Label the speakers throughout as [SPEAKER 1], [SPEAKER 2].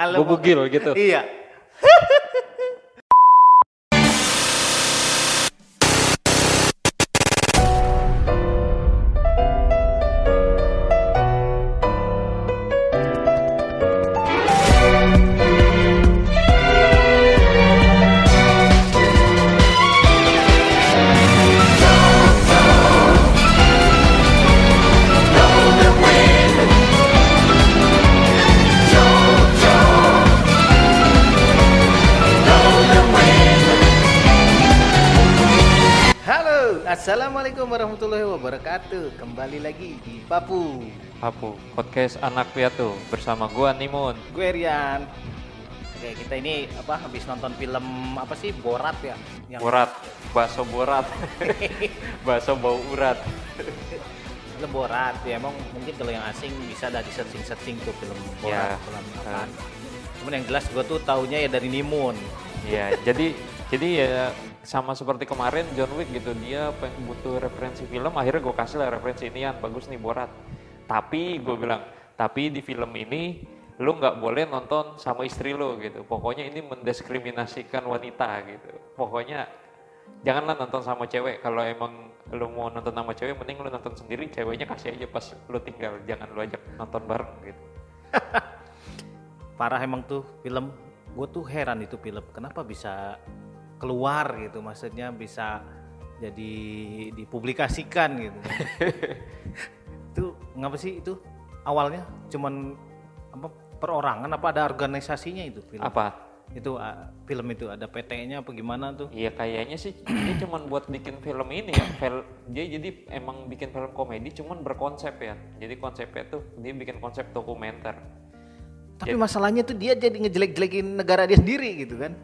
[SPEAKER 1] Kalau mau-
[SPEAKER 2] Bubugil gitu.
[SPEAKER 1] Iya. Halo, assalamualaikum warahmatullahi wabarakatuh. Kembali lagi di Papu.
[SPEAKER 2] Papu, podcast anak piatu bersama gua Nimun.
[SPEAKER 1] Gue Rian. Oke, kita ini apa habis nonton film apa sih Borat ya?
[SPEAKER 2] Borat, bakso borat. bakso bau urat.
[SPEAKER 1] Film Borat ya emang mungkin kalau yang asing bisa dari searching searching tuh film Borat.
[SPEAKER 2] Ya.
[SPEAKER 1] film
[SPEAKER 2] Ah.
[SPEAKER 1] apaan. Cuman yang jelas gue tuh taunya ya dari Nimun.
[SPEAKER 2] Iya, jadi jadi ya sama seperti kemarin John Wick gitu dia peng- butuh referensi film akhirnya gue kasih lah referensi ini yang bagus nih Borat tapi gue bilang tapi di film ini lu nggak boleh nonton sama istri lu gitu pokoknya ini mendiskriminasikan wanita gitu pokoknya janganlah nonton sama cewek kalau emang lu mau nonton sama cewek mending lu nonton sendiri ceweknya kasih aja pas lu tinggal jangan lu ajak nonton bareng gitu
[SPEAKER 1] parah emang tuh film gue tuh heran itu film kenapa bisa keluar gitu maksudnya bisa jadi dipublikasikan gitu itu ngapa sih itu awalnya cuman apa perorangan apa ada organisasinya itu film
[SPEAKER 2] apa
[SPEAKER 1] itu ah, film itu ada PT-nya apa gimana tuh
[SPEAKER 2] Iya kayaknya sih dia cuman buat bikin film ini ya. Fel- dia jadi emang bikin film komedi cuman berkonsep ya. Jadi konsepnya tuh dia bikin konsep dokumenter.
[SPEAKER 1] tapi masalahnya tuh dia jadi ngejelek-jelekin negara dia sendiri gitu kan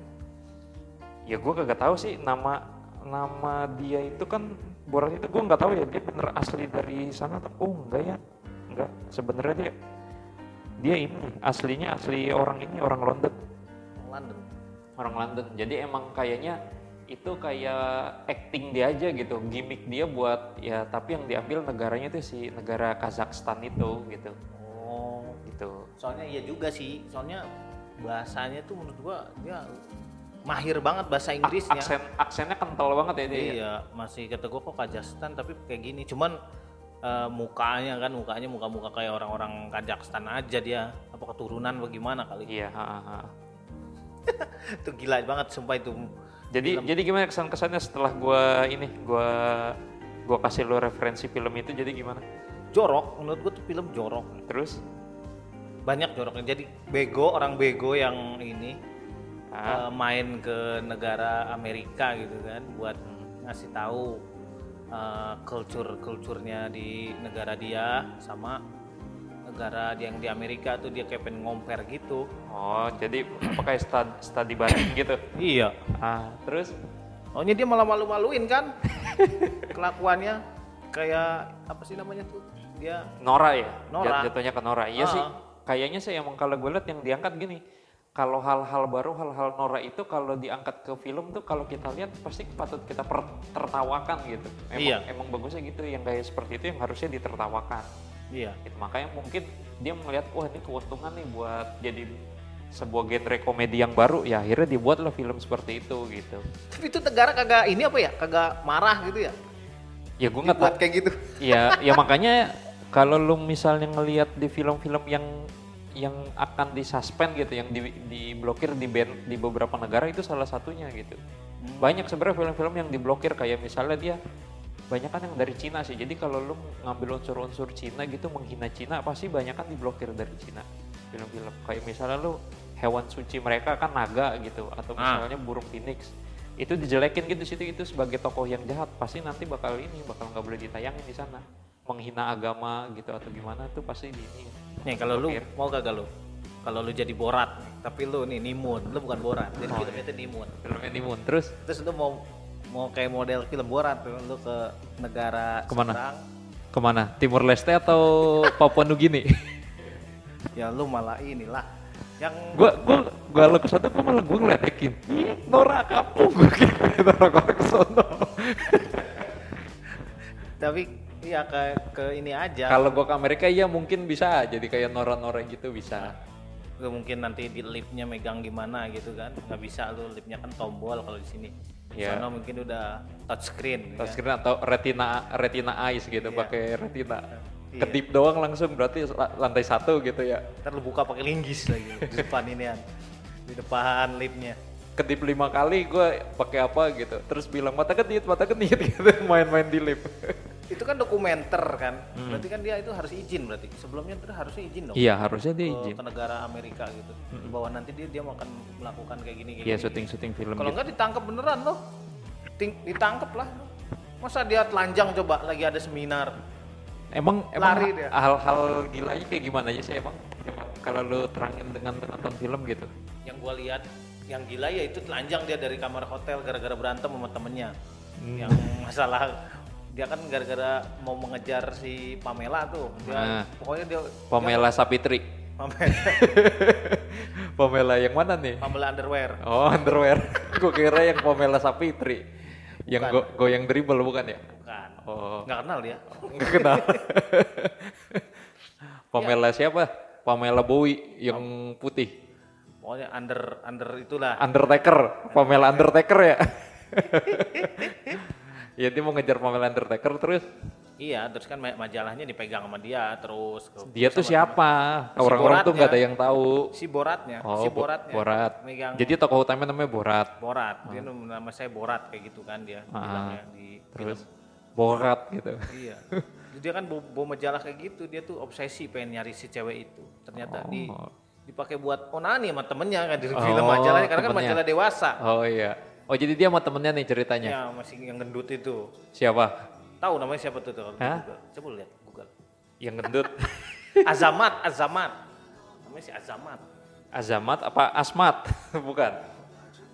[SPEAKER 2] Ya gua kagak tahu sih nama nama dia itu kan Borat itu gua nggak tahu ya dia bener asli dari sana atau oh enggak ya enggak sebenarnya dia dia ini aslinya asli orang ini orang London
[SPEAKER 1] London
[SPEAKER 2] orang London. Jadi emang kayaknya itu kayak acting dia aja gitu, gimmick dia buat ya tapi yang diambil negaranya itu si negara Kazakhstan itu gitu.
[SPEAKER 1] oh
[SPEAKER 2] Gitu.
[SPEAKER 1] soalnya iya juga sih soalnya bahasanya tuh menurut gua dia mahir banget bahasa
[SPEAKER 2] A-
[SPEAKER 1] Inggrisnya
[SPEAKER 2] aksen aksennya kental banget ya dia. ya.
[SPEAKER 1] ya? iya masih kata gua kok Kazakhstan tapi kayak gini cuman eh, mukanya kan mukanya muka-muka kayak orang-orang Kazakhstan aja dia apa keturunan bagaimana kali
[SPEAKER 2] Iya, ha, ha, ha.
[SPEAKER 1] itu gila banget sumpah itu
[SPEAKER 2] Jadi jadi gimana kesan-kesannya setelah gua ini gua gua kasih lo referensi film itu jadi gimana?
[SPEAKER 1] jorok menurut gua tuh film jorok
[SPEAKER 2] Terus
[SPEAKER 1] banyak joroknya jadi bego orang bego yang ini
[SPEAKER 2] Ah.
[SPEAKER 1] eh, main ke negara Amerika gitu kan buat ngasih tahu kultur kulturnya di negara dia sama negara yang di Amerika tuh dia kayak pengen ngomper gitu
[SPEAKER 2] oh, jadi pakai study, study banding gitu.
[SPEAKER 1] iya
[SPEAKER 2] Ah, terus
[SPEAKER 1] ohnya dia malah malu-maluin kan kelakuannya kayak apa sih namanya tuh dia
[SPEAKER 2] Nora ya?
[SPEAKER 1] Nora.
[SPEAKER 2] Jat- Jatuhnya ke Nora. Iya
[SPEAKER 1] Ah.
[SPEAKER 2] sih. Kayaknya sih emang kalau gue lihat yang diangkat gini. Kalau hal-hal baru, hal-hal Nora itu kalau diangkat ke film tuh kalau kita lihat pasti patut kita per- tertawakan gitu. Emang,
[SPEAKER 1] Iya.
[SPEAKER 2] emang bagusnya gitu yang kayak seperti itu yang harusnya ditertawakan.
[SPEAKER 1] iya
[SPEAKER 2] Gitu. Makanya mungkin dia melihat wah ini keuntungan nih buat jadi sebuah genre komedi yang baru ya akhirnya dibuatlah film seperti itu gitu.
[SPEAKER 1] tapi itu negara kagak ini apa ya kagak marah gitu ya
[SPEAKER 2] Ya gue nggak tahu
[SPEAKER 1] buat kayak gitu
[SPEAKER 2] Iya, ya makanya kalau lu misalnya ngelihat di film-film yang yang akan disuspend gitu, yang di, diblokir di ban di beberapa negara itu salah satunya gitu. Banyak sebenarnya film-film yang diblokir kayak misalnya dia banyak kan yang dari Cina sih. Jadi kalau lu ngambil unsur-unsur Cina gitu menghina Cina pasti banyak kan diblokir dari Cina film-film. Kayak misalnya lu hewan suci mereka kan naga gitu atau
[SPEAKER 1] Ah.
[SPEAKER 2] misalnya burung phoenix itu dijelekin gitu situ itu sebagai tokoh yang jahat pasti nanti bakal ini bakal nggak boleh ditayangin di sana menghina agama gitu atau gimana tuh pasti di ini
[SPEAKER 1] Nih kalau lu
[SPEAKER 2] Oke.
[SPEAKER 1] mau kagak lu? Kalau lu jadi borat, nih, tapi lu nih nimun, lu bukan borat, jadi filmnya itu nimun.
[SPEAKER 2] filmnya timun terus
[SPEAKER 1] Terus lu mau mau kayak model film borat, lu ke negara
[SPEAKER 2] Kemana?
[SPEAKER 1] seberang,
[SPEAKER 2] kemana Timur Leste atau Papua Nugini
[SPEAKER 1] ya lu malah inilah yang
[SPEAKER 2] gua gua gua lo kesana gua malah gua ngeledekin "Ih, Nora kampung gua kira Nora orang kesono
[SPEAKER 1] tapi ya ke ke ini aja.
[SPEAKER 2] iya, kalau gua ke Amerika ya mungkin bisa jadi kayak Nora-Nora gitu bisa
[SPEAKER 1] Itu mungkin nanti di lipnya megang gimana gitu kan nggak bisa lu lipnya kan tombol kalau di sini di
[SPEAKER 2] Iya.
[SPEAKER 1] sana mungkin udah touch screen ya.
[SPEAKER 2] touchscreen atau retina retina eyes gitu
[SPEAKER 1] Iya.
[SPEAKER 2] pakai retina
[SPEAKER 1] Iya.
[SPEAKER 2] kedip doang langsung berarti la- lantai satu gitu ya
[SPEAKER 1] ntar lu buka pakai linggis lagi di depan ini di depan lipnya
[SPEAKER 2] kedip lima kali gue pakai apa gitu terus bilang mata kedip mata kedip gitu main-main di lip
[SPEAKER 1] itu kan dokumenter kan berarti kan dia itu harus izin berarti sebelumnya itu harusnya izin dong
[SPEAKER 2] Hmm. iya harusnya dia
[SPEAKER 1] ke, ke negara Amerika gitu bahwa nanti dia dia akan melakukan kayak gini gini,
[SPEAKER 2] iya
[SPEAKER 1] gini.
[SPEAKER 2] syuting syuting film
[SPEAKER 1] kalau nggak ditangkap beneran loh Ting- ditangkap lah masa dia telanjang coba lagi ada seminar
[SPEAKER 2] emang emang
[SPEAKER 1] Lari dia.
[SPEAKER 2] hal-hal gilanya kayak gimana aja sih emang Emang kalau lu terangin dengan penonton film gitu
[SPEAKER 1] yang gua lihat yang gila ya itu telanjang dia dari kamar hotel gara-gara berantem sama temennya
[SPEAKER 2] Hmm.
[SPEAKER 1] yang masalah dia kan gara-gara mau mengejar si Pamela tuh dia,
[SPEAKER 2] Nah.
[SPEAKER 1] pokoknya dia
[SPEAKER 2] Pamela Sapitri
[SPEAKER 1] Pamela,
[SPEAKER 2] Pamela yang mana nih
[SPEAKER 1] Pamela underwear
[SPEAKER 2] oh underwear gue kira yang Pamela Sapitri yang go- goyang dribble bukan ya
[SPEAKER 1] bukan
[SPEAKER 2] oh
[SPEAKER 1] nggak kenal dia
[SPEAKER 2] Nggak kenal. Pamela
[SPEAKER 1] Ya.
[SPEAKER 2] siapa? Pamela Bowie yang putih.
[SPEAKER 1] pokoknya under under itulah
[SPEAKER 2] Undertaker. Pamela Undertaker ya. ya dia mau ngejar Pamela Undertaker terus
[SPEAKER 1] iya terus kan ma- majalahnya dipegang sama dia terus ke-
[SPEAKER 2] dia tuh siapa?
[SPEAKER 1] Si
[SPEAKER 2] Orang-orang tuh
[SPEAKER 1] Boratnya.
[SPEAKER 2] nggak ada yang tahu.
[SPEAKER 1] si Boratnya
[SPEAKER 2] Oh,
[SPEAKER 1] si ya.
[SPEAKER 2] Bo-
[SPEAKER 1] Boratnya
[SPEAKER 2] Borat.
[SPEAKER 1] megang
[SPEAKER 2] Jadi tokoh utama namanya Borat.
[SPEAKER 1] Borat
[SPEAKER 2] Ah.
[SPEAKER 1] dia nama saya Borat kayak gitu kan dia bilangnya di
[SPEAKER 2] Terus Borat gitu.
[SPEAKER 1] Iya. Dia kan bawa, bawa majalah kayak gitu, dia tuh obsesi pengen nyari si cewek itu. Ternyata di dipakai buat onani sama temennya kan di film
[SPEAKER 2] Oh,
[SPEAKER 1] majalahnya karena kan
[SPEAKER 2] temennya.
[SPEAKER 1] majalah dewasa.
[SPEAKER 2] Oh iya. Oh jadi dia sama temennya nih ceritanya.
[SPEAKER 1] Ya, masih yang gendut itu.
[SPEAKER 2] Siapa?
[SPEAKER 1] Tahu namanya siapa tuh? tuh
[SPEAKER 2] Hah?
[SPEAKER 1] Coba lu lihat Google.
[SPEAKER 2] Yang gendut.
[SPEAKER 1] Azamat, Azamat. Namanya si Azamat.
[SPEAKER 2] Azamat apa Asmat? Bukan.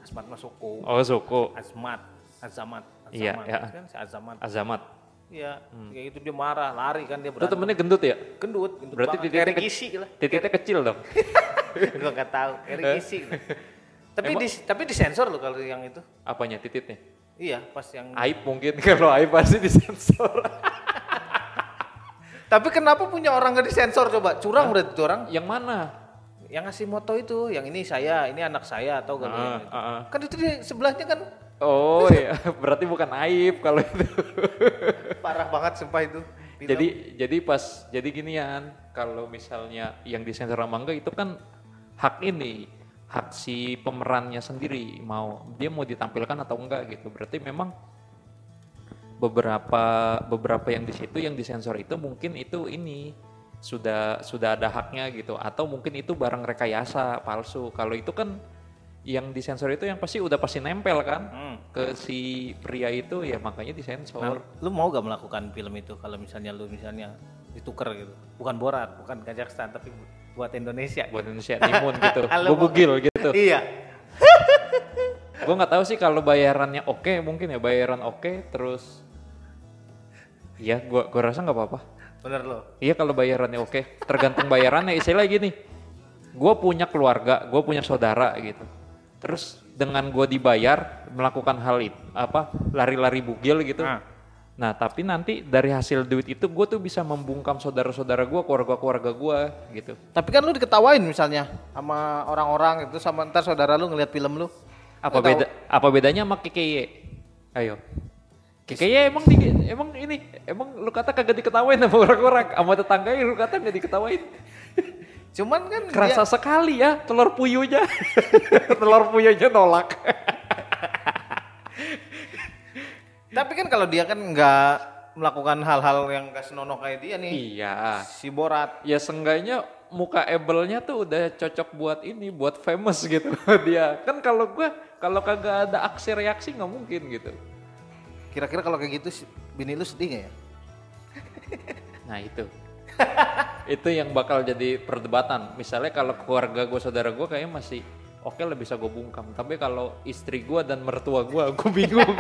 [SPEAKER 1] Asmat Masoko.
[SPEAKER 2] Oh Zoko.
[SPEAKER 1] Azmat, Azamat, Azamat.
[SPEAKER 2] Iya, iya. Hmm.
[SPEAKER 1] Kan si Azamat.
[SPEAKER 2] Azamat.
[SPEAKER 1] Iya, kayak gitu dia marah, lari kan dia
[SPEAKER 2] Itu
[SPEAKER 1] berantem.
[SPEAKER 2] temennya gendut ya?
[SPEAKER 1] Gendut, gendut
[SPEAKER 2] Berarti
[SPEAKER 1] banget.
[SPEAKER 2] titiknya
[SPEAKER 1] Kayak
[SPEAKER 2] ke-
[SPEAKER 1] Ricky lah.
[SPEAKER 2] Titiknya kecil dong.
[SPEAKER 1] gue nggak tahu Eric
[SPEAKER 2] Eh.
[SPEAKER 1] Ising tapi di tapi disensor loh kalau yang itu
[SPEAKER 2] Apanya tititnya?
[SPEAKER 1] iya pas yang
[SPEAKER 2] Aib mungkin kalau aib pasti disensor.
[SPEAKER 1] tapi kenapa punya orang nggak disensor coba curang berarti itu orang
[SPEAKER 2] Yang mana?
[SPEAKER 1] yang ngasih moto itu yang ini saya ini anak saya atau gak
[SPEAKER 2] Ah, ah, ah.
[SPEAKER 1] kan itu di sebelahnya kan
[SPEAKER 2] Oh iya, berarti bukan aib kalau itu.
[SPEAKER 1] parah banget sumpah itu Film.
[SPEAKER 2] jadi jadi pas jadi ginian kalau misalnya yang disensor sama enggak itu kan hak ini hak si pemerannya sendiri mau dia mau ditampilkan atau enggak gitu berarti memang beberapa beberapa yang di situ yang disensor itu mungkin itu ini sudah sudah ada haknya gitu atau mungkin itu barang rekayasa palsu kalau itu kan yang disensor itu yang pasti udah pasti nempel kan
[SPEAKER 1] Hmm.
[SPEAKER 2] ke si pria itu ya makanya disensor
[SPEAKER 1] Nah, lu mau gak melakukan film itu kalau misalnya lu misalnya dituker gitu bukan Borat bukan Kazakhstan tapi bu- buat Indonesia
[SPEAKER 2] buat Indonesia timun gitu gue
[SPEAKER 1] Halo,
[SPEAKER 2] bugil gitu
[SPEAKER 1] iya
[SPEAKER 2] gue nggak tahu sih kalau bayarannya oke mungkin ya bayaran oke terus ya gue gua rasa nggak apa-apa
[SPEAKER 1] bener lo
[SPEAKER 2] iya kalau bayarannya oke tergantung bayarannya istilah gini gue punya keluarga gue punya saudara gitu terus dengan gue dibayar melakukan hal itu apa lari-lari bugil gitu
[SPEAKER 1] Ah.
[SPEAKER 2] nah tapi nanti dari hasil duit itu gue tuh bisa membungkam saudara-saudara gue keluarga-keluarga gue gitu
[SPEAKER 1] Tapi kan lu diketawain misalnya sama orang-orang itu sama ntar saudara lu ngelihat film lu.
[SPEAKER 2] apa
[SPEAKER 1] Lu tahu.
[SPEAKER 2] beda apa bedanya sama KKY? Ayo. KKY emang di, emang ini emang lu kata kagak diketawain sama orang-orang sama tetangga lu kata nggak diketawain.
[SPEAKER 1] Cuman kan
[SPEAKER 2] Kerasa sekali ya telur puyuhnya. telur puyuhnya nolak.
[SPEAKER 1] dia- tapi kan kalau dia kan nggak melakukan hal-hal yang gak senonoh kayak dia nih.
[SPEAKER 2] iya.
[SPEAKER 1] Si Borat.
[SPEAKER 2] Ya seenggaknya muka nya tuh udah cocok buat ini, buat famous gitu dia. Kan kalau gua kalau kagak ada aksi reaksi nggak mungkin gitu.
[SPEAKER 1] Kira-kira kalau kayak gitu si- bini lu sedih gak ya?
[SPEAKER 2] Nah itu. itu yang bakal jadi perdebatan. Misalnya kalau keluarga gue, saudara gue kayaknya masih oke lah bisa gue bungkam. Tapi kalau istri gue dan mertua gue, gue bingung.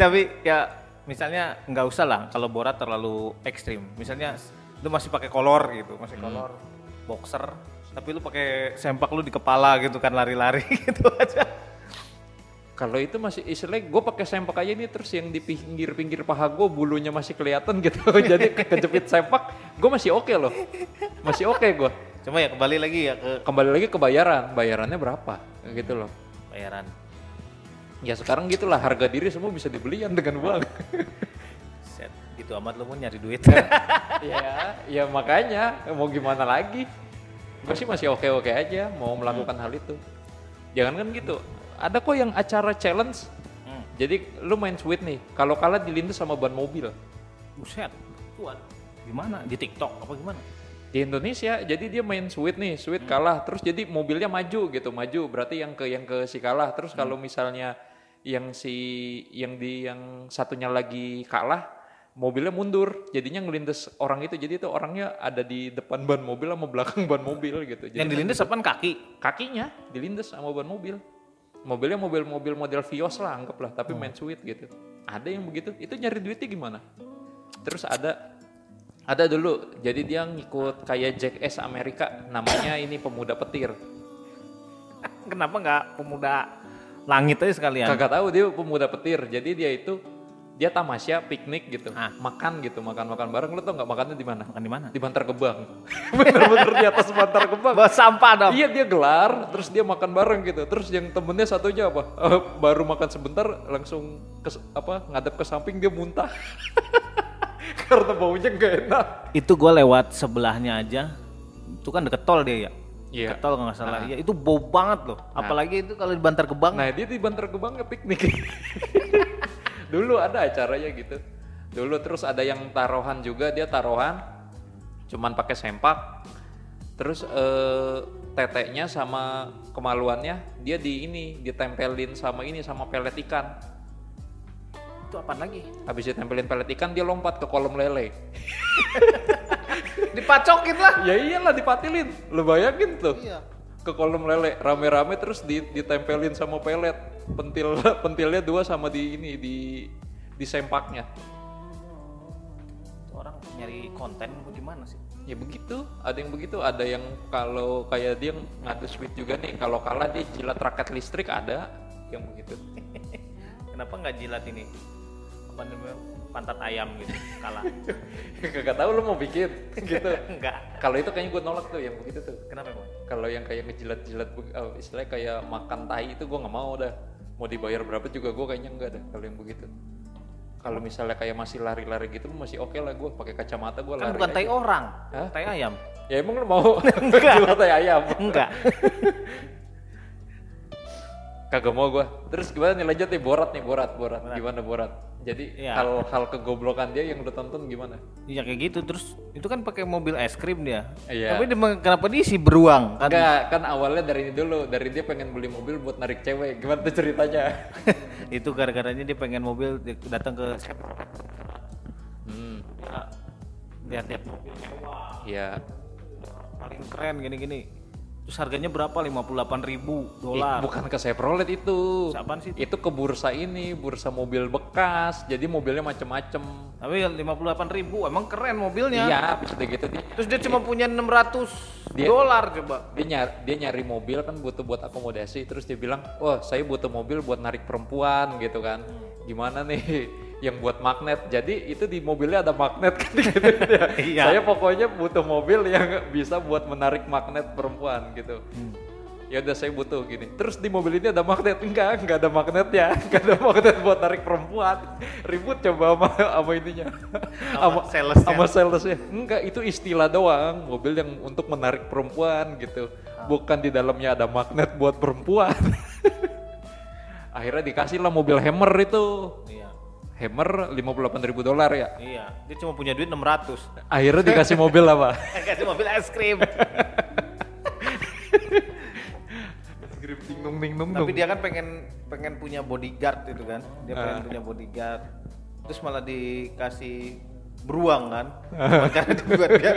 [SPEAKER 1] tapi ya misalnya nggak usah lah kalau Borat terlalu ekstrim. Misalnya lu masih pakai kolor gitu, masih kolor boxer, tapi lu pakai sempak lu di kepala gitu kan lari-lari gitu aja.
[SPEAKER 2] kalau itu masih istilahnya gue pakai sempak aja nih terus yang di pinggir-pinggir paha gue bulunya masih kelihatan gitu. jadi ke- kejepit sempak, gue masih oke loh. Masih oke gua gue.
[SPEAKER 1] Cuma ya kembali lagi ya ke
[SPEAKER 2] Kembali lagi ke bayaran, bayarannya berapa gitu loh.
[SPEAKER 1] bayaran.
[SPEAKER 2] Ya sekarang gitulah harga diri semua bisa dibelian dengan uang.
[SPEAKER 1] Set, gitu amat lu mau nyari duit.
[SPEAKER 2] ya, ya makanya mau gimana lagi? Gue sih masih oke-oke aja mau melakukan hal itu. Jangan kan gitu. Ada kok yang acara challenge.
[SPEAKER 1] Hmm.
[SPEAKER 2] Jadi lu main sweet nih. Kalau kalah dilindas sama ban mobil.
[SPEAKER 1] Buset, tuan. Gimana? Di TikTok apa gimana?
[SPEAKER 2] di Indonesia jadi dia main sweet nih sweet kalah terus jadi mobilnya maju gitu maju berarti yang ke yang ke si kalah terus kalau misalnya yang si yang di yang satunya lagi kalah mobilnya mundur jadinya ngelindes orang itu jadi itu orangnya ada di depan ban mobil sama belakang ban mobil gitu jadi
[SPEAKER 1] Yang dilindas apaan kaki?
[SPEAKER 2] kakinya dilindes sama ban mobil mobilnya mobil-mobil model Vios lah anggaplah tapi main sweet gitu ada yang begitu itu nyari duitnya gimana terus ada ada dulu jadi dia ngikut kayak Jack S Amerika namanya ini pemuda petir
[SPEAKER 1] Kenapa nggak pemuda langit aja sekalian?
[SPEAKER 2] kagak tahu dia pemuda petir jadi dia itu dia tamasya piknik gitu
[SPEAKER 1] Ah.
[SPEAKER 2] makan gitu makan makan bareng lu tau nggak makannya di mana
[SPEAKER 1] Makan di mana?
[SPEAKER 2] di Bantar Gebang bener-bener di atas Bantar Gebang
[SPEAKER 1] Bawa sampah dong.
[SPEAKER 2] Iya dia gelar, terus dia makan bareng gitu. Terus yang temennya satunya apa? Eh, baru makan sebentar langsung ke apa ngadap ke samping dia muntah. Karena baunya gak enak.
[SPEAKER 1] Itu gue lewat sebelahnya aja. Itu kan deket tol dia ya.
[SPEAKER 2] Iya.
[SPEAKER 1] Deket tol kalau nggak salah. Iya, itu bau banget loh. Apalagi itu kalau di Bantar Gebang.
[SPEAKER 2] Nah dia di Bantar Gebang piknik. Dulu ada acaranya gitu. Dulu terus ada yang taruhan juga dia taruhan, cuman pakai sempak. Terus eh, teteknya sama kemaluannya dia di ini ditempelin sama ini sama pelet ikan.
[SPEAKER 1] Itu apaan lagi?
[SPEAKER 2] Habis ditempelin pelet ikan dia lompat ke kolam lele.
[SPEAKER 1] Dipacokin lah.
[SPEAKER 2] ya iyalah dipatilin. Lu bayangin tuh.
[SPEAKER 1] Iya.
[SPEAKER 2] Ke kolam lele rame-rame terus di- ditempelin sama pelet. Pentil pentilnya dua sama di ini di di sempaknya.
[SPEAKER 1] Itu orang nyari konten apa gimana sih?
[SPEAKER 2] Ya begitu, ada yang begitu, ada yang kalau kayak dia ngadu sweet juga nih, kalau kalah dia jilat raket listrik ada yang begitu.
[SPEAKER 1] Kenapa nggak jilat ini? Apa namanya? Pantat ayam gitu. Kalah.
[SPEAKER 2] Gak tau lu mau bikin gitu.
[SPEAKER 1] Enggak.
[SPEAKER 2] Kalau itu kayaknya gue nolak tuh yang begitu tuh.
[SPEAKER 1] Kenapa emang?
[SPEAKER 2] kalau yang kayak ngejilat-jilat be- eh, istilahnya kayak makan tai itu gue nggak mau dah mau dibayar berapa juga gue kayaknya enggak dah kalau yang begitu kalau misalnya kayak masih lari-lari gitu masih oke lah gue pakai kacamata gue
[SPEAKER 1] Kan
[SPEAKER 2] lari
[SPEAKER 1] bukan tai
[SPEAKER 2] aja.
[SPEAKER 1] orang.
[SPEAKER 2] gitu. Hah?
[SPEAKER 1] Tai ayam.
[SPEAKER 2] ya emang lu mau jilat tai ayam
[SPEAKER 1] Enggak.
[SPEAKER 2] kagak mau gue terus gimana nih lanjut nih borat nih borat borat, gimana borat jadi
[SPEAKER 1] Iya.
[SPEAKER 2] hal-hal kegoblokan dia yang udah tonton gimana
[SPEAKER 1] Iya kayak gitu terus itu kan pakai mobil es krim dia.
[SPEAKER 2] Iya.
[SPEAKER 1] Tapi dia, kenapa diisi beruang kan?
[SPEAKER 2] Enggak, kan awalnya dari ini dulu, dari dia pengen beli mobil buat narik cewek. Gimana tuh ceritanya?
[SPEAKER 1] itu gara-garanya dia pengen mobil dia datang ke
[SPEAKER 2] Hmm,
[SPEAKER 1] lihat-lihat mobil
[SPEAKER 2] ya.
[SPEAKER 1] paling keren gini-gini. Terus harganya berapa? 58.000 dolar.
[SPEAKER 2] Ih, bukan ke Chevrolet itu.
[SPEAKER 1] Apaan sih?
[SPEAKER 2] Itu ke bursa ini, bursa mobil bekas. Jadi mobilnya macem-macem.
[SPEAKER 1] Tapi 58.000 emang keren mobilnya.
[SPEAKER 2] Iya, habis itu gitu dia.
[SPEAKER 1] Terus dia cuma punya 600
[SPEAKER 2] Dia-
[SPEAKER 1] dolar coba.
[SPEAKER 2] Dia nyari, dia nyari mobil kan butuh buat akomodasi. Terus dia bilang, wah saya butuh mobil buat narik perempuan gitu kan.
[SPEAKER 1] Hmm.
[SPEAKER 2] Gimana nih yang buat magnet. Jadi itu di mobilnya ada magnet kan gitu. dia.
[SPEAKER 1] Iya.
[SPEAKER 2] Saya pokoknya butuh mobil yang bisa buat menarik magnet perempuan gitu.
[SPEAKER 1] Hmm.
[SPEAKER 2] Ya udah saya butuh gini. Terus di mobil ini ada magnet enggak? Enggak ada magnetnya. Enggak ada magnet buat tarik perempuan. Ribut coba sama sama ininya.
[SPEAKER 1] Sama salesnya.
[SPEAKER 2] Sama salesnya. Enggak, itu istilah doang. Mobil yang untuk menarik perempuan gitu.
[SPEAKER 1] Ah.
[SPEAKER 2] Bukan di dalamnya ada magnet buat perempuan. Akhirnya dikasih lah mobil Hammer itu.
[SPEAKER 1] Iya.
[SPEAKER 2] Hammer 58.000 dolar ya.
[SPEAKER 1] Iya, dia cuma punya duit 600.
[SPEAKER 2] Akhirnya dikasih mobil apa?
[SPEAKER 1] Kasih mobil es krim.
[SPEAKER 2] Ting nung ting nung
[SPEAKER 1] Tapi dia kan pengen pengen punya bodyguard itu kan. Dia pengen
[SPEAKER 2] Ah.
[SPEAKER 1] punya bodyguard. Terus malah dikasih beruang kan.
[SPEAKER 2] Ah.
[SPEAKER 1] Makanya dibuat dia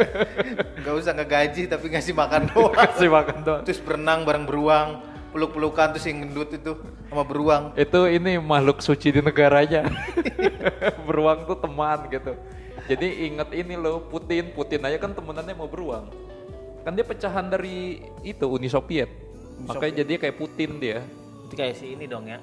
[SPEAKER 1] nggak usah ngegaji tapi ngasih makan doang.
[SPEAKER 2] Kasih makan doang.
[SPEAKER 1] terus berenang bareng beruang, peluk-pelukan terus yang gendut itu sama beruang.
[SPEAKER 2] itu ini makhluk suci di negaranya beruang tuh teman gitu jadi inget ini loh Putin Putin aja kan temenannya mau beruang kan dia pecahan dari itu Uni Soviet makanya jadi kayak Putin dia
[SPEAKER 1] Itu kayak si ini dong ya.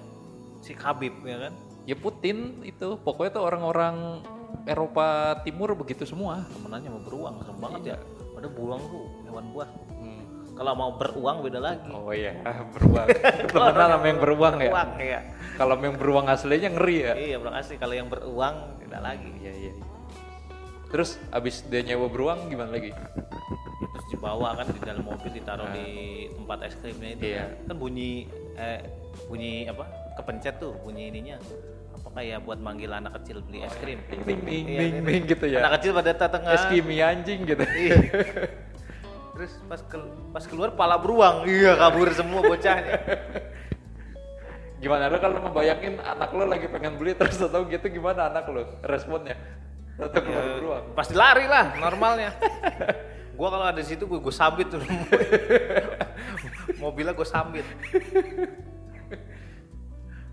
[SPEAKER 1] Si Khabib ya kan.
[SPEAKER 2] ya Putin itu pokoknya tuh orang-orang Eropa Timur begitu semua Iya.
[SPEAKER 1] Temenannya sama beruang serem banget ya. Padahal beruang tuh hewan buah.
[SPEAKER 2] Hmm.
[SPEAKER 1] Kalau mau beruang beda lagi.
[SPEAKER 2] Oh iya, ah, beruang. Temenan sama yang beruang ya.
[SPEAKER 1] Beruang ya.
[SPEAKER 2] Kalau sama yang beruang aslinya ngeri ya.
[SPEAKER 1] Iya, beruang asli. Kalau yang beruang beda lagi.
[SPEAKER 2] Iya iya. Terus abis dia nyewa beruang gimana lagi?
[SPEAKER 1] Terus dibawa kan di dalam mobil ditaruh di tempat es krimnya itu.
[SPEAKER 2] Ah. Iya.
[SPEAKER 1] Kan bunyi eh, bunyi apa? Kepencet tuh bunyi ininya. Apa kayak buat manggil anak kecil beli es krim.
[SPEAKER 2] Ding ding ding
[SPEAKER 1] Iya,
[SPEAKER 2] ding, ding gitu ya.
[SPEAKER 1] Anak kecil pada tengah.
[SPEAKER 2] Es kimi anjing gitu.
[SPEAKER 1] Iya. Terus pas kel- pas keluar pala beruang, iya kabur semua bocahnya.
[SPEAKER 2] Gimana lo kalau membayangin anak lo lagi pengen beli terus atau gitu gimana anak lo responnya?
[SPEAKER 1] Iya.
[SPEAKER 2] Tetap keluar beruang.
[SPEAKER 1] Pasti lari lah normalnya. gua kalau ada di situ gue sambit tuh. Mobilnya gue sambit.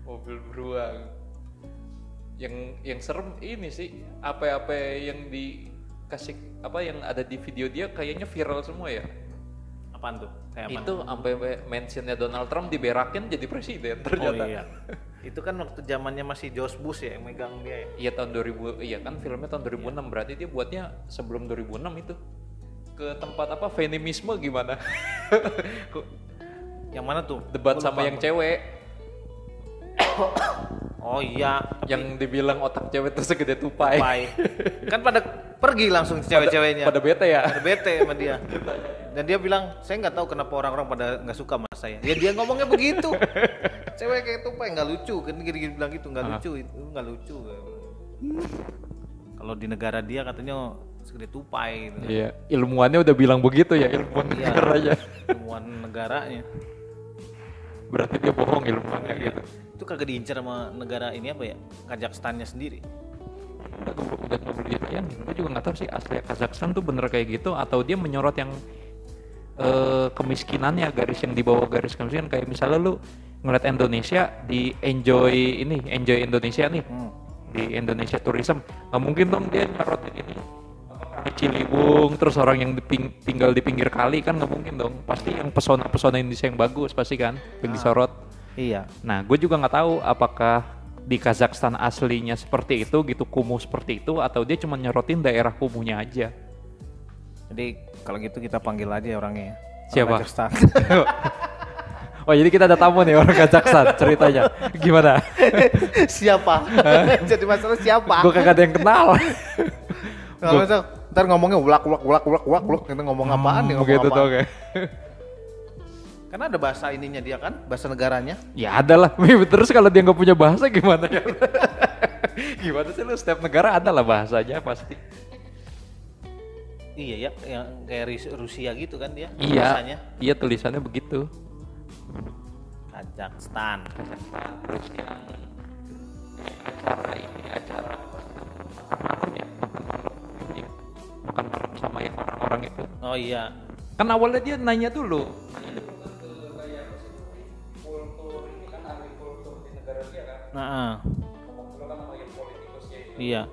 [SPEAKER 2] mobil beruang yang yang serem ini sih apa-apa yang dikasih apa yang ada di video dia kayaknya viral semua ya
[SPEAKER 1] Apaan tuh? Kayak apaan?
[SPEAKER 2] itu sampai mentionnya Donald Trump diberakin jadi presiden
[SPEAKER 1] Oh
[SPEAKER 2] ternyata
[SPEAKER 1] iya. Itu kan waktu zamannya masih George Bush ya yang megang dia ya.
[SPEAKER 2] Iya tahun 2000 iya kan filmnya tahun 2006 berarti dia buatnya sebelum 2006 itu ke tempat apa feminisme gimana
[SPEAKER 1] Yang mana tuh?
[SPEAKER 2] debat
[SPEAKER 1] Gua
[SPEAKER 2] sama
[SPEAKER 1] lupa.
[SPEAKER 2] yang cewek
[SPEAKER 1] Oh iya.
[SPEAKER 2] yang dibilang otak cewek tuh segede tupai
[SPEAKER 1] Bye. kan pada pergi langsung
[SPEAKER 2] Eh.
[SPEAKER 1] cewek-ceweknya.
[SPEAKER 2] pada bete ya
[SPEAKER 1] Ada bete sama dia. Dan dia bilang, saya nggak tahu kenapa orang-orang pada nggak suka sama saya. Ya dia ngomongnya begitu. Cewek kayak tupai nggak lucu, kan gini-gini bilang gitu nggak lucu, itu nggak lucu. Kalau di negara dia katanya "Oh, segede tupai gitu.
[SPEAKER 2] Iya, ilmuwannya udah bilang begitu ya ilmuwan
[SPEAKER 1] Iya.
[SPEAKER 2] negaranya.
[SPEAKER 1] Temuan negaranya.
[SPEAKER 2] Berarti dia bohong ilmuwannya gitu.
[SPEAKER 1] Iya. Itu kagak diincar sama negara ini apa ya? Kazakhstannya sendiri.
[SPEAKER 2] Udah gue udah beli Ryan, gue juga nggak tahu sih asli Kazakhstan tuh bener kayak gitu atau dia menyorot yang eh, kemiskinannya garis yang di bawah garis kemiskinan kayak misalnya lu ngeliat Indonesia di enjoy ini enjoy Indonesia nih di Indonesia tourism nggak mungkin dong dia nyorot ini Apa, Ciliwung terus orang yang di ping- tinggal di pinggir kali kan nggak mungkin dong pasti yang pesona-pesona Indonesia yang bagus pasti kan yang disorot
[SPEAKER 1] Iya.
[SPEAKER 2] Nah, gue juga nggak tahu apakah di Kazakhstan aslinya seperti itu, gitu kumuh seperti itu, atau dia cuma nyerotin daerah kumuhnya aja.
[SPEAKER 1] Jadi kalau gitu kita panggil aja orangnya. ya. Orang
[SPEAKER 2] Siapa?
[SPEAKER 1] Kazakhstan.
[SPEAKER 2] Oh, jadi kita ada tamu nih orang Kazakhstan ceritanya. Gimana?
[SPEAKER 1] siapa? Jadi masalah siapa?
[SPEAKER 2] Gue kagak ada yang kenal.
[SPEAKER 1] Kalau misal, ntar ngomongnya ulak ulak ulak ulak ulak ulak kita ngomong apaan nih ngomong
[SPEAKER 2] Begitu
[SPEAKER 1] apaan.
[SPEAKER 2] dong ya.
[SPEAKER 1] Karena ada bahasa ininya dia kan, bahasa negaranya.
[SPEAKER 2] Ya ada lah. Terus kalau dia nggak punya bahasa gimana ya? gimana sih lu setiap negara ada lah bahasanya pasti.
[SPEAKER 1] Iya ya, yang kayak Ris- Rusia gitu kan dia.
[SPEAKER 2] Iya.
[SPEAKER 1] Bahasanya
[SPEAKER 2] Iya tulisannya begitu.
[SPEAKER 1] Kazakhstan.
[SPEAKER 2] acara ini acara makan ya makan malam Iya. sama yang orang-orang itu
[SPEAKER 1] Oh iya.
[SPEAKER 2] kan awalnya dia nanya dulu
[SPEAKER 1] Nah, ah. iya.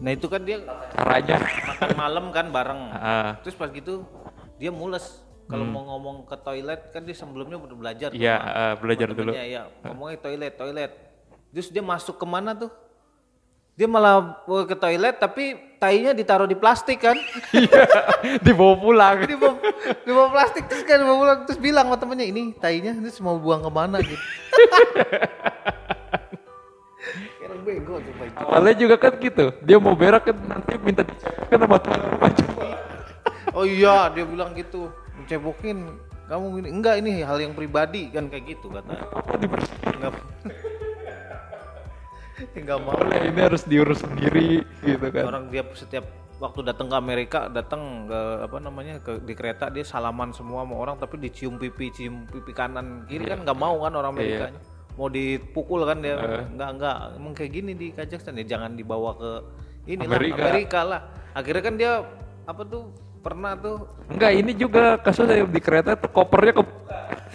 [SPEAKER 1] Nah itu kan dia
[SPEAKER 2] caranya
[SPEAKER 1] makan malam kan bareng.
[SPEAKER 2] Ah,
[SPEAKER 1] Terus pas gitu dia mules. Kalau mau ngomong ke toilet kan dia sebelumnya udah belajar.
[SPEAKER 2] Hmm. iya eh, belajar dulu
[SPEAKER 1] Iya, iya. Ngomongnya toilet, toilet. Terus dia masuk kemana tuh? Dia malah eh, ke toilet tapi tainya ditaruh di plastik kan?
[SPEAKER 2] iya dibawa pulang
[SPEAKER 1] di bawah, di bawah plastik terus kan dibawa pulang terus bilang sama temennya ini tainya terus mau buang kemana gitu. Kayak orang bego tuh Pak itu.
[SPEAKER 2] awalnya juga kan gitu dia mau berak kan nanti minta dicekin sama teman rumah coba
[SPEAKER 1] Oh iya dia bilang gitu mencebokin kamu gini enggak ini hal yang pribadi kan kayak gitu kata
[SPEAKER 2] apa dibersihin
[SPEAKER 1] enggak enggak mau
[SPEAKER 2] boleh Nah, ini harus diurus sendiri gitu kan
[SPEAKER 1] orang dia setiap waktu datang ke Amerika datang ke apa namanya ke di kereta dia salaman semua sama orang tapi dicium pipi cium pipi kanan kiri kan nggak mau kan orang Amerika mau dipukul kan dia nggak nggak emang kayak gini di Kazakhstan ya jangan dibawa ke inilah
[SPEAKER 2] Amerika.
[SPEAKER 1] Amerika. lah akhirnya kan dia apa tuh pernah tuh
[SPEAKER 2] enggak ini juga kasusnya di kereta tuh kopernya ke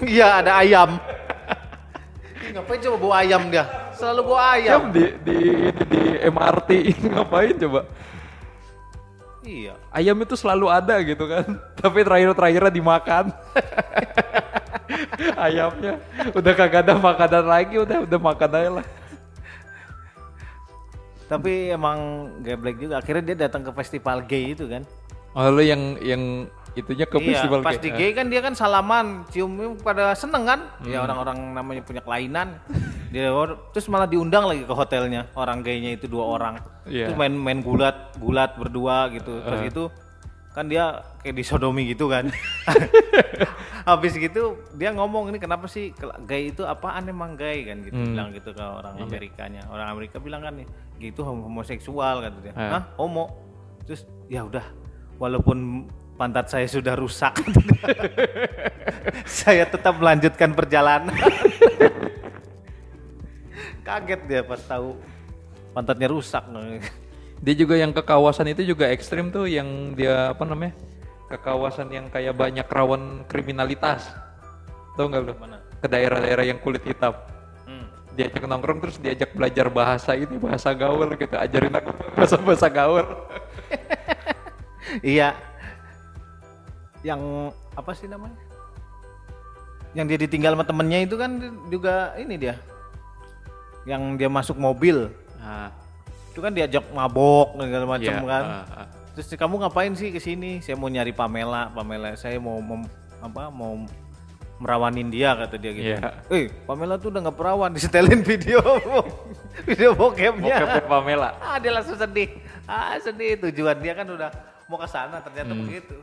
[SPEAKER 1] iya ada ayam Ih, ngapain coba bawa ayam dia selalu bawa ayam
[SPEAKER 2] Jam di di di, di MRT ini ngapain coba?
[SPEAKER 1] iya
[SPEAKER 2] Ayam itu selalu ada gitu kan. Tapi terakhir-terakhirnya dimakan. Ayamnya udah kagak ada makanan lagi, udah udah makan aja lah.
[SPEAKER 1] tapi emang geblek juga akhirnya dia datang ke festival gay itu kan
[SPEAKER 2] Oh, lu yang yang itunya ke
[SPEAKER 1] iya,
[SPEAKER 2] festival eh,
[SPEAKER 1] pas
[SPEAKER 2] gay. ya.
[SPEAKER 1] di gay kan dia kan salaman, cium pada seneng kan? Ya
[SPEAKER 2] Hmm.
[SPEAKER 1] orang-orang namanya punya kelainan. dia terus malah diundang lagi ke hotelnya orang gaynya itu dua orang.
[SPEAKER 2] Iya.
[SPEAKER 1] Terus main-main gulat, gulat berdua gitu. Terus itu kan dia kayak disodomi gitu kan. Habis gitu dia ngomong ini kenapa sih kel- gay itu apaan emang gay kan gitu bilang gitu ke orang Amerikanya. Orang Amerika bilang kan nih gitu hom- homoseksual kata dia. Hah, homo. Terus ya udah walaupun pantat saya sudah rusak saya tetap melanjutkan perjalanan. Kaget dia pas tahu pantatnya rusak.
[SPEAKER 2] Dia juga yang ke kawasan itu juga ekstrim tuh yang dia apa namanya? Ke kawasan yang kayak banyak rawan kriminalitas. Tahu nggak lu?
[SPEAKER 1] Mana?
[SPEAKER 2] Ke daerah-daerah yang kulit hitam.
[SPEAKER 1] Hmm.
[SPEAKER 2] Diajak nongkrong terus diajak belajar bahasa ini bahasa gaul gitu. Ajarin aku bahasa bahasa gaul.
[SPEAKER 1] Iya. Yang apa sih namanya? Yang dia ditinggal sama temennya itu kan juga ini dia. Yang dia masuk mobil.
[SPEAKER 2] Nah,
[SPEAKER 1] Itu kan diajak mabok segala macam
[SPEAKER 2] iya,
[SPEAKER 1] kan.
[SPEAKER 2] ah, ah.
[SPEAKER 1] Terus kamu ngapain sih ke sini? Saya mau nyari Pamela, Pamela. Saya mau mem- apa? Mau merawanin dia kata dia gitu.
[SPEAKER 2] Iya.
[SPEAKER 1] Eh, Pamela tuh udah nggak perawan, disetelin video video bokepnya.
[SPEAKER 3] Bokep Pamela.
[SPEAKER 1] Ah, dia langsung sedih. Ah, sedih tujuan dia kan udah mau ke sana ternyata
[SPEAKER 2] Hmm.
[SPEAKER 1] begitu.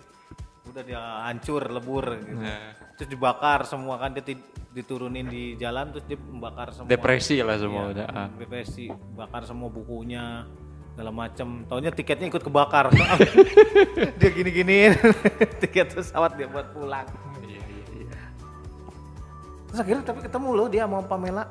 [SPEAKER 1] Udah dia hancur, lebur gitu.
[SPEAKER 2] Nah.
[SPEAKER 1] Terus dibakar semua kan dia ti- diturunin di jalan terus dia membakar semua.
[SPEAKER 2] Depresi lah semua
[SPEAKER 1] Iya,
[SPEAKER 2] udah. ah.
[SPEAKER 1] depresi, bakar semua bukunya segala macem. Taunya tiketnya ikut kebakar. dia gini-giniin tiket pesawat dia buat pulang. Terus akhirnya tapi ketemu loh dia sama Pamela.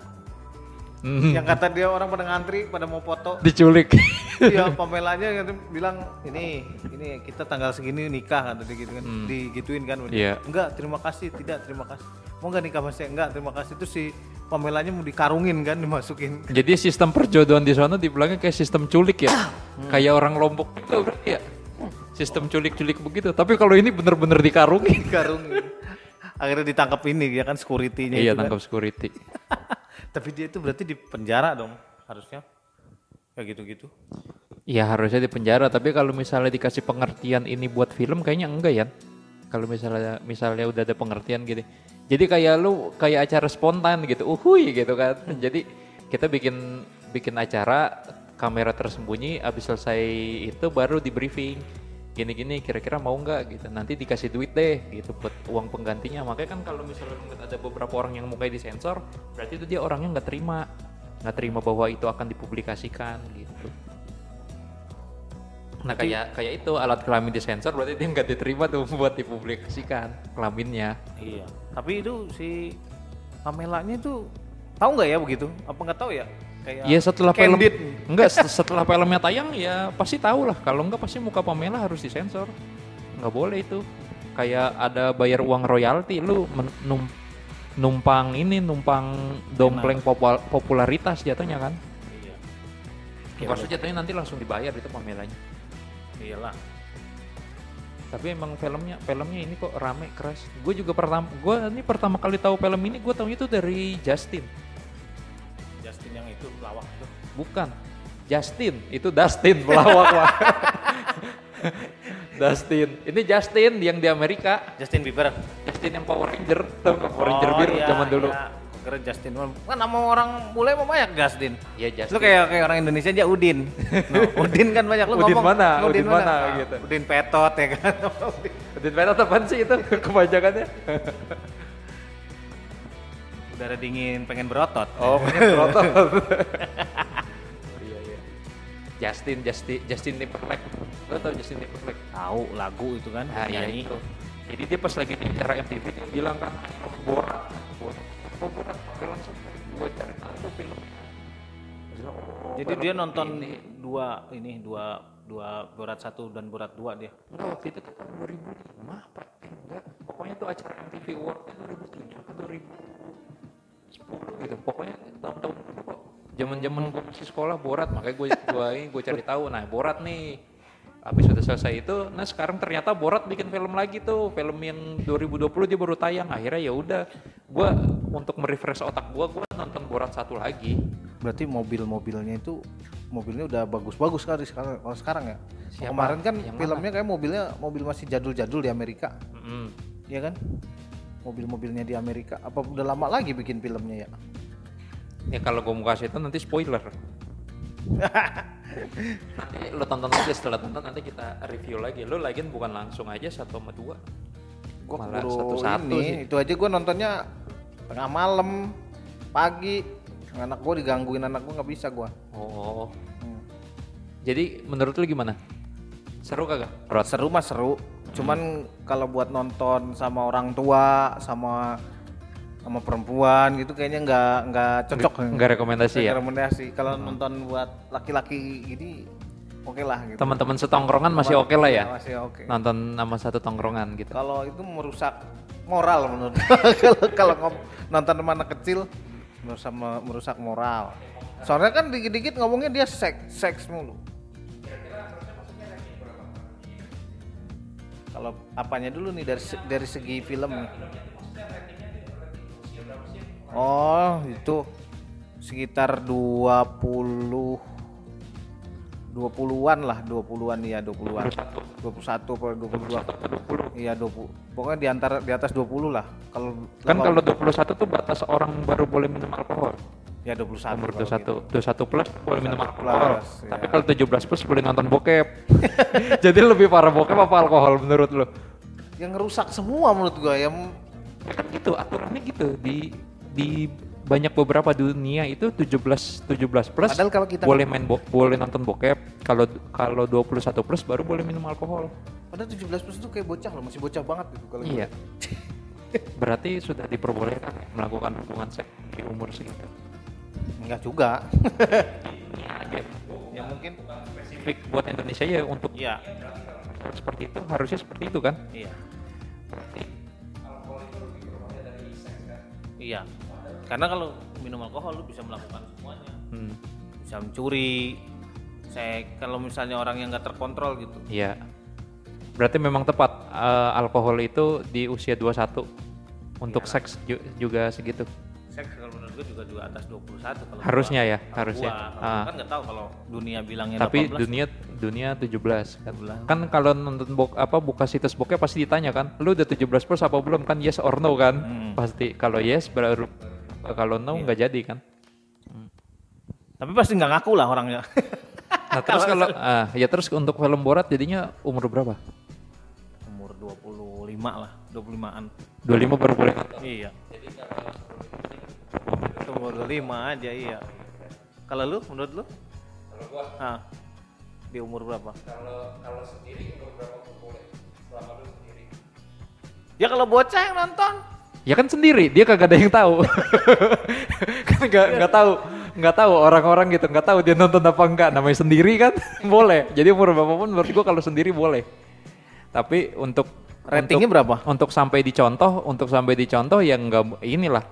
[SPEAKER 2] Hmm.
[SPEAKER 1] Yang kata dia orang pada ngantri, pada mau foto.
[SPEAKER 2] Diculik.
[SPEAKER 1] Iya, Pamelanya gitu bilang ini ini kita tanggal segini nikah kan tadi gitu kan. Digituin kan. udah.
[SPEAKER 2] Hmm. Iya.
[SPEAKER 1] Enggak, terima kasih, tidak terima kasih. Mau nggak nikah masih? Enggak, terima kasih. Terus si Pamelanya mau dikarungin kan, dimasukin.
[SPEAKER 2] Jadi sistem perjodohan di sana dibilangnya kayak sistem culik ya. Kayak orang Lombok juga berarti ya. Sistem culik-culik begitu. Tapi kalau ini bener-bener dikarungin.
[SPEAKER 1] dikarungin. Akhirnya ditangkap ini dia kan security-nya
[SPEAKER 2] Iya,
[SPEAKER 1] itu kan.
[SPEAKER 2] tangkap security.
[SPEAKER 1] Tapi dia itu berarti di penjara dong harusnya. Kayak gitu-gitu.
[SPEAKER 2] Iya, harusnya di penjara, tapi kalau misalnya dikasih pengertian ini buat film kayaknya enggak ya. Kalau misalnya misalnya udah ada pengertian gini. Jadi kayak lu kayak acara spontan gitu. Uhuy gitu kan. Jadi kita bikin bikin acara kamera tersembunyi habis selesai itu baru di briefing gini-gini kira-kira mau nggak gitu nanti dikasih duit deh gitu buat uang penggantinya makanya kan kalau misalnya lu ngeliat ada beberapa orang yang mukanya disensor berarti itu dia orangnya nggak terima nggak terima bahwa itu akan dipublikasikan gitu nah kayak kayak itu alat kelamin disensor berarti dia nggak diterima tuh buat dipublikasikan kelaminnya
[SPEAKER 1] Iya. Tapi itu si Pamelanya itu tahu nggak ya begitu? Apa nggak tahu ya? Kayak
[SPEAKER 2] Iya setelah film
[SPEAKER 1] candid.
[SPEAKER 2] enggak set- setelah filmnya tayang ya pasti tahu lah kalau enggak pasti muka Pamela harus disensor nggak boleh itu kayak ada bayar uang royalti lu men- num- numpang ini numpang dompleng popul- popularitas jatuhnya kan
[SPEAKER 1] Iya.
[SPEAKER 2] ya, maksudnya jatuhnya nanti langsung dibayar itu Pamelanya
[SPEAKER 1] Iyalah.
[SPEAKER 2] tapi emang filmnya filmnya ini kok rame keras gue juga pertama gue ini pertama kali tahu film ini gue tahu itu dari Justin
[SPEAKER 1] Justin yang itu pelawak itu.
[SPEAKER 2] Bukan. Justin, itu Dustin pelawak Pak. Dustin. Ini Justin yang di Amerika.
[SPEAKER 1] Justin Bieber.
[SPEAKER 2] Justin yang Power Ranger. Tau nggak Power Ranger biru
[SPEAKER 1] iya,
[SPEAKER 2] zaman dulu.
[SPEAKER 1] Iya. Keren Justin. Kan nama orang bule mah banyak Justin.
[SPEAKER 2] Iya, Justin.
[SPEAKER 1] Lu kayak kayak orang Indonesia aja Udin. No, Udin kan banyak lu
[SPEAKER 2] Udin
[SPEAKER 1] ngomong.
[SPEAKER 2] mana? Udin mana?
[SPEAKER 1] Nah,
[SPEAKER 2] Gitu.
[SPEAKER 1] Udin Petot ya kan. Udin.
[SPEAKER 2] Udin Petot apaan sih itu kebajakannya?
[SPEAKER 1] Udara dingin pengen berotot.
[SPEAKER 2] Oh, Rotot. Iya, iya. Justin, Justin, Justin Timberlake. Lo tau Justin Timberlake?
[SPEAKER 1] Tahu lagu itu kan
[SPEAKER 2] Nah, iya
[SPEAKER 1] nyanyi.
[SPEAKER 2] itu. Jadi dia pas lagi di acara MTV dia bilang kan, "Oh, borat, borat, oh, borat, pakai langsung gue cari tahu tuh filmnya. Terus bilang, "Oh,
[SPEAKER 1] Jadi
[SPEAKER 2] film
[SPEAKER 1] dia nonton
[SPEAKER 2] ini."
[SPEAKER 1] dua ini dua dua borat satu dan borat dua dia.
[SPEAKER 2] Enggak, waktu itu tuh tahun 2005 apa? Eh, Enggak, pokoknya tuh acara MTV Award itu 2003 atau 2010 gitu. Pokoknya tahun-tahun itu kok. Zaman-zaman gue masih sekolah borat, makanya gue gue ini gue cari tahu. Nah, borat nih. Habis udah selesai itu, nah sekarang ternyata Borat bikin film lagi tuh, film yang 2020 dia baru tayang. Akhirnya ya udah, gue untuk merefresh otak gue, gue nonton Borat satu lagi.
[SPEAKER 1] Berarti mobil-mobilnya itu mobilnya udah bagus-bagus kali sekarang kalau sekarang ya. Kalau
[SPEAKER 2] Siapa?
[SPEAKER 1] Kemarin kan
[SPEAKER 2] Yang mana?
[SPEAKER 1] filmnya kayak mobilnya mobil masih jadul-jadul di Amerika,
[SPEAKER 2] Mm-mm.
[SPEAKER 1] ya kan? Mobil-mobilnya di Amerika. Apa udah lama lagi bikin filmnya ya?
[SPEAKER 2] Ya kalau gue mau kasih itu nanti spoiler. nanti lo tonton aja setelah tonton nanti kita review lagi. Lo lagian bukan langsung aja satu sama dua.
[SPEAKER 1] Gua
[SPEAKER 2] Malah
[SPEAKER 1] keburu
[SPEAKER 2] satu-satu
[SPEAKER 1] ini,
[SPEAKER 2] sih.
[SPEAKER 1] Itu aja gua nontonnya tengah malam, pagi. Anak gua digangguin anak gua nggak bisa gua.
[SPEAKER 2] Oh.
[SPEAKER 1] Hmm.
[SPEAKER 2] Jadi menurut lo gimana? Seru kagak? Rot.
[SPEAKER 1] Seru mah seru.
[SPEAKER 2] Hmm.
[SPEAKER 1] Cuman kalau buat nonton sama orang tua, sama sama perempuan gitu kayaknya nggak nggak cocok.
[SPEAKER 2] Enggak rekomendasi ya.
[SPEAKER 1] rekomendasi. Kalau nonton buat laki-laki gini oke lah gitu.
[SPEAKER 2] Teman-teman setongkrongan masih oke lah ya.
[SPEAKER 1] Masih oke.
[SPEAKER 2] Nonton sama satu tongkrongan gitu.
[SPEAKER 1] Kalau itu merusak moral menurut gua. kalau kalau ngom- nonton sama anak kecil merusak merusak moral. Soalnya kan dikit-dikit ngomongnya dia seks seks mulu. Kalau apanya dulu nih dari se- dari segi film nih? Oh, itu sekitar 20 20-an lah, 20-an ya, 20-an. 21 atau 22. Iya 20. Pokoknya di antara di atas 20 lah. Kalau
[SPEAKER 4] Kan kalau 21 tuh batas orang baru boleh minum alkohol.
[SPEAKER 1] ya 21
[SPEAKER 4] Umur
[SPEAKER 1] kalau gitu.
[SPEAKER 4] 21, 21 plus boleh minum alkohol.
[SPEAKER 1] plus, ya.
[SPEAKER 4] Tapi kalau 17 plus boleh nonton bokep.
[SPEAKER 2] Jadi lebih parah bokep apa alkohol menurut lo?
[SPEAKER 1] Yang ngerusak semua menurut gua yang
[SPEAKER 4] kan gitu aturannya gitu di di banyak beberapa dunia itu 17 17 plus
[SPEAKER 1] Padahal kalau kita-
[SPEAKER 4] boleh main bo- boleh nonton bokep kalau kalau 21 plus baru boleh minum alkohol
[SPEAKER 1] padahal 17 plus itu kayak bocah loh, masih bocah banget gitu kalau
[SPEAKER 4] iya berarti sudah diperbolehkan ya melakukan hubungan seks di umur segitu
[SPEAKER 1] enggak juga.
[SPEAKER 4] ya, dia
[SPEAKER 1] ya mungkin
[SPEAKER 4] spesifik buat Indonesia ya untuk
[SPEAKER 1] iya.
[SPEAKER 4] seperti itu harusnya seperti itu kan
[SPEAKER 1] Iya. Iya. Karena kalau minum alkohol lu bisa melakukan semuanya.
[SPEAKER 2] Hmm.
[SPEAKER 1] Bisa mencuri. Saya kalau misalnya orang yang nggak terkontrol gitu.
[SPEAKER 2] Iya. Berarti memang tepat eh, alkohol itu di usia 21 untuk seks ju- juga segitu.
[SPEAKER 1] Saya kalau menurut gue juga juga atas 21 kalau
[SPEAKER 2] Harusnya
[SPEAKER 1] gua-
[SPEAKER 2] ya,
[SPEAKER 1] kalau
[SPEAKER 2] harusnya.
[SPEAKER 1] gua. Kalau
[SPEAKER 2] Ah.
[SPEAKER 1] gua kan nggak tahu kalau dunia bilangnya
[SPEAKER 2] Tapi
[SPEAKER 1] 18.
[SPEAKER 2] dunia dunia 17 kan.
[SPEAKER 1] 17.
[SPEAKER 2] Kan kalau nonton bok, apa buka situs bokep pasti ditanya kan, lu udah 17 plus apa belum kan? Yes or no kan? Pasti kalau yes baru kalau no nggak jadi kan.
[SPEAKER 1] Tapi pasti nggak ngaku lah orangnya.
[SPEAKER 2] Nah, terus kalau ah, ya terus untuk film Borat jadinya umur berapa?
[SPEAKER 1] Umur 25 lah, 25-an.
[SPEAKER 2] 25 baru boleh nonton.
[SPEAKER 1] Iya. Umur 25 aja iya. Kalau lu menurut lu? Kalau gua ah, di umur berapa? Ya kalau bocah yang nonton.
[SPEAKER 2] Ya kan sendiri, dia kagak ada yang tahu. kan nggak nggak tahu, nggak tahu orang-orang gitu, nggak tahu dia nonton apa enggak. Namanya sendiri kan boleh. Jadi umur berapapun menurut gua kalau sendiri boleh. Tapi untuk
[SPEAKER 1] Ratingnya
[SPEAKER 2] untuk-
[SPEAKER 1] berapa?
[SPEAKER 2] Untuk sampai dicontoh, untuk sampai dicontoh ya nggak inilah.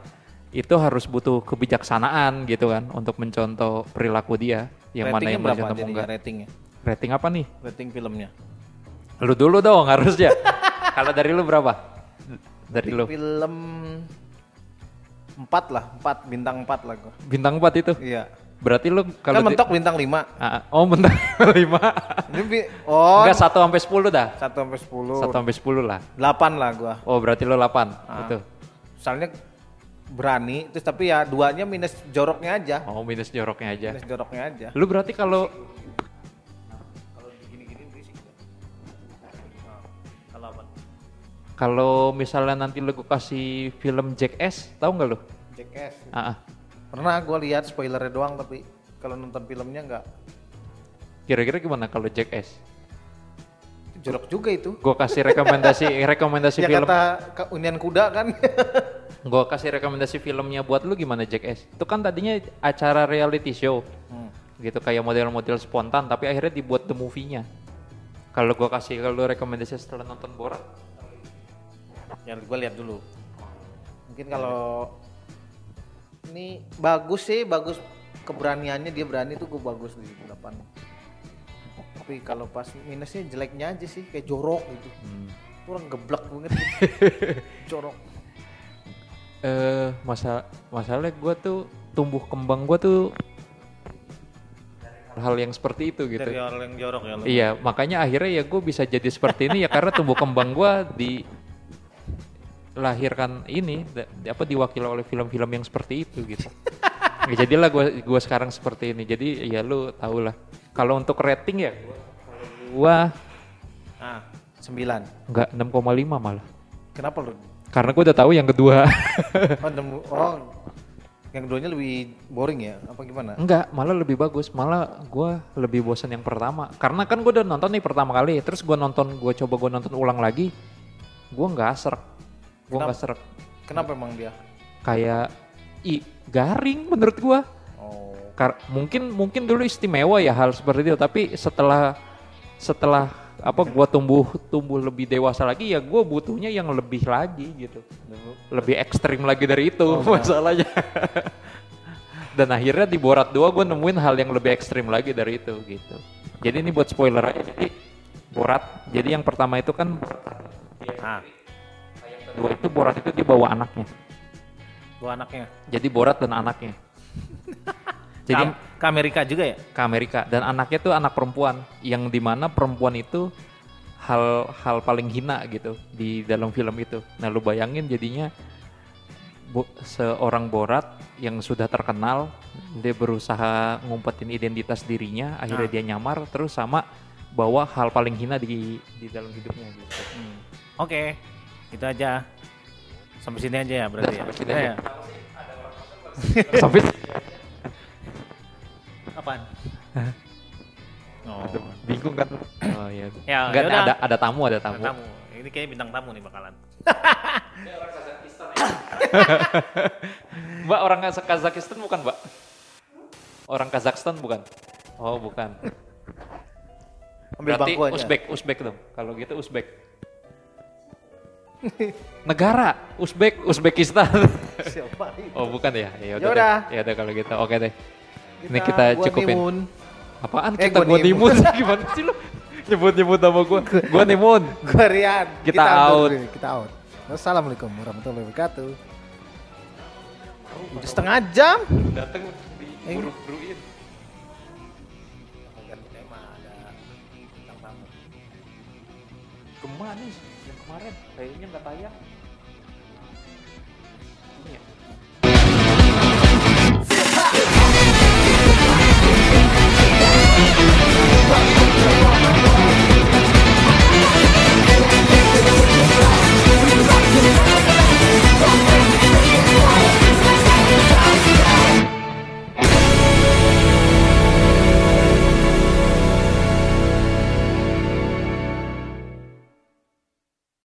[SPEAKER 2] Itu harus butuh kebijaksanaan gitu kan untuk mencontoh perilaku dia yang mana
[SPEAKER 1] Ratingnya
[SPEAKER 2] yang
[SPEAKER 1] berapa
[SPEAKER 2] mencontoh
[SPEAKER 1] jadinya
[SPEAKER 2] enggak.
[SPEAKER 1] ratingnya?
[SPEAKER 2] Rating apa nih?
[SPEAKER 1] Rating filmnya.
[SPEAKER 2] Lu dulu dong harusnya. kalau dari lu berapa? Dari lu.
[SPEAKER 1] Film 4 lah, 4 bintang 4 lah gua.
[SPEAKER 2] Bintang 4 itu.
[SPEAKER 1] Iya.
[SPEAKER 2] Berarti lu kalau
[SPEAKER 1] kan
[SPEAKER 2] di-
[SPEAKER 1] mentok bintang 5.
[SPEAKER 2] Ah, oh bentar 5.
[SPEAKER 1] Ini bi- oh,
[SPEAKER 2] Enggak 1 sampai 10 dah.
[SPEAKER 1] 1 sampai 10.
[SPEAKER 2] 1 sampai 10 lah.
[SPEAKER 1] 8 lah gua.
[SPEAKER 2] Oh, berarti lu 8. Itu.
[SPEAKER 1] Misalnya berani terus tapi ya duanya minus joroknya aja.
[SPEAKER 2] Oh, minus joroknya aja.
[SPEAKER 1] Minus joroknya aja.
[SPEAKER 2] Lu berarti kalau
[SPEAKER 1] Kalau apa?
[SPEAKER 2] kalau misalnya nanti lu gua kasih film Jackass, tahu nggak lu?
[SPEAKER 1] JKS.
[SPEAKER 2] Ah, ah.
[SPEAKER 1] Pernah gua lihat spoilernya doang tapi kalau nonton filmnya nggak
[SPEAKER 2] Kira-kira gimana kalau Jackass?
[SPEAKER 1] jorok juga itu.
[SPEAKER 2] Gua kasih rekomendasi rekomendasi
[SPEAKER 1] Ya
[SPEAKER 2] film.
[SPEAKER 1] kata Ka- Unian Kuda kan.
[SPEAKER 2] Gua kasih rekomendasi filmnya buat lu gimana Jackass? Itu kan tadinya acara reality show.
[SPEAKER 1] Hmm.
[SPEAKER 2] gitu kayak model-model spontan tapi akhirnya dibuat the movie-nya kalau gua kasih kalau lu rekomendasi setelah nonton Borat
[SPEAKER 1] Ya gua lihat dulu. Mungkin kalau ini bagus sih, bagus keberaniannya dia berani tuh gua bagus di 8. Tapi kalau pas minusnya jeleknya aja sih kayak jorok gitu. Kurang geblek banget. gitu. jorok.
[SPEAKER 2] eh masa masalah gua tuh tumbuh kembang gua tuh hal yang seperti itu gitu
[SPEAKER 1] dari orang yang jorok ya lu.
[SPEAKER 2] Iya, makanya akhirnya ya gue bisa jadi seperti ini ya karena tumbuh kembang gue dilahirkan ini da- di- apa diwakili oleh film-film yang seperti itu gitu. ya, jadilah gue gua sekarang seperti ini. Jadi ya lu tau lah. Kalau untuk rating ya gue
[SPEAKER 1] Ah, sembilan.
[SPEAKER 2] nggak 6,5 malah.
[SPEAKER 1] Kenapa lu?
[SPEAKER 2] Karena gue udah tahu yang kedua.
[SPEAKER 1] Oh, nemu- oh, yang keduanya lebih boring ya? Apa gimana?
[SPEAKER 2] Enggak, malah lebih bagus. Malah gue lebih bosan yang pertama. Karena kan gue udah nonton nih pertama kali. Terus gue nonton, gue coba gue nonton ulang lagi. Gue nggak serak. Gue
[SPEAKER 1] Kenapa?
[SPEAKER 2] nggak serak.
[SPEAKER 1] Kenapa emang dia?
[SPEAKER 2] Kayak i garing menurut gue.
[SPEAKER 1] Oh,
[SPEAKER 2] Kar- mungkin mungkin dulu istimewa ya hal seperti itu. Tapi setelah setelah apa gue tumbuh tumbuh lebih dewasa lagi ya gue butuhnya yang lebih lagi gitu lebih ekstrim lagi dari itu masalahnya. Dan akhirnya di Borat 2 gue nemuin hal yang lebih ekstrim lagi dari itu gitu. Jadi ini buat spoiler aja. Jadi Borat, jadi yang pertama itu kan
[SPEAKER 1] ah,
[SPEAKER 2] kedua itu Borat itu dibawa anaknya.
[SPEAKER 1] gua anaknya.
[SPEAKER 2] Jadi Borat dan anaknya. Jadi
[SPEAKER 1] Ke- ke Amerika juga ya?
[SPEAKER 2] ke Amerika dan anaknya tuh anak perempuan yang dimana perempuan itu hal-hal paling hina gitu di dalam film itu. Nah lu bayangin jadinya bo- seorang Borat yang sudah terkenal dia berusaha ngumpetin identitas dirinya akhirnya
[SPEAKER 1] Ah.
[SPEAKER 2] dia nyamar terus sama bawa hal paling hina di di dalam hidupnya gitu.
[SPEAKER 1] Hmm. Oke, itu aja. Sampai sini aja ya berarti ya.
[SPEAKER 2] Sampai sini
[SPEAKER 1] Ya,
[SPEAKER 2] aja.
[SPEAKER 1] ya.
[SPEAKER 2] Sampai
[SPEAKER 1] Apaan? Oh,
[SPEAKER 2] bingung kan? Oh iya.
[SPEAKER 1] Ya,
[SPEAKER 2] Enggak,
[SPEAKER 1] yaudah.
[SPEAKER 2] ada ada tamu ada tamu.
[SPEAKER 1] bintang tamu. Ini kayaknya bintang tamu nih bakalan.
[SPEAKER 2] Mbak orang Kaz- Kazakhstan bukan, Mbak? Orang Kazakhstan bukan? Oh, bukan.
[SPEAKER 1] Ambil
[SPEAKER 2] Berarti
[SPEAKER 1] bangku aja.
[SPEAKER 2] Uzbek, Uzbek dong. Kalau gitu Uzbek. Negara Uzbek, Uzbekistan.
[SPEAKER 1] Siapa ini?
[SPEAKER 2] oh, bukan ya? Ya
[SPEAKER 1] Yaudah.
[SPEAKER 2] udah. Ya udah kalau gitu. Oke deh. Ini kita
[SPEAKER 1] gua
[SPEAKER 2] cukupin.
[SPEAKER 1] timun.
[SPEAKER 2] Apaan
[SPEAKER 1] Eh,
[SPEAKER 2] kita
[SPEAKER 1] gua
[SPEAKER 2] gua
[SPEAKER 1] nimun.
[SPEAKER 2] nimun? Gimana sih lu? Nyebut-nyebut nama gua. Gua nimun.
[SPEAKER 1] Gua Rian.
[SPEAKER 2] Kita out.
[SPEAKER 1] dulu, Kita out. Wassalamualaikum warahmatullahi wabarakatuh. Udah setengah jam.
[SPEAKER 2] Dateng diburu-buruin. Kemanis yang kemarin kayaknya nggak tayang. Ini ya.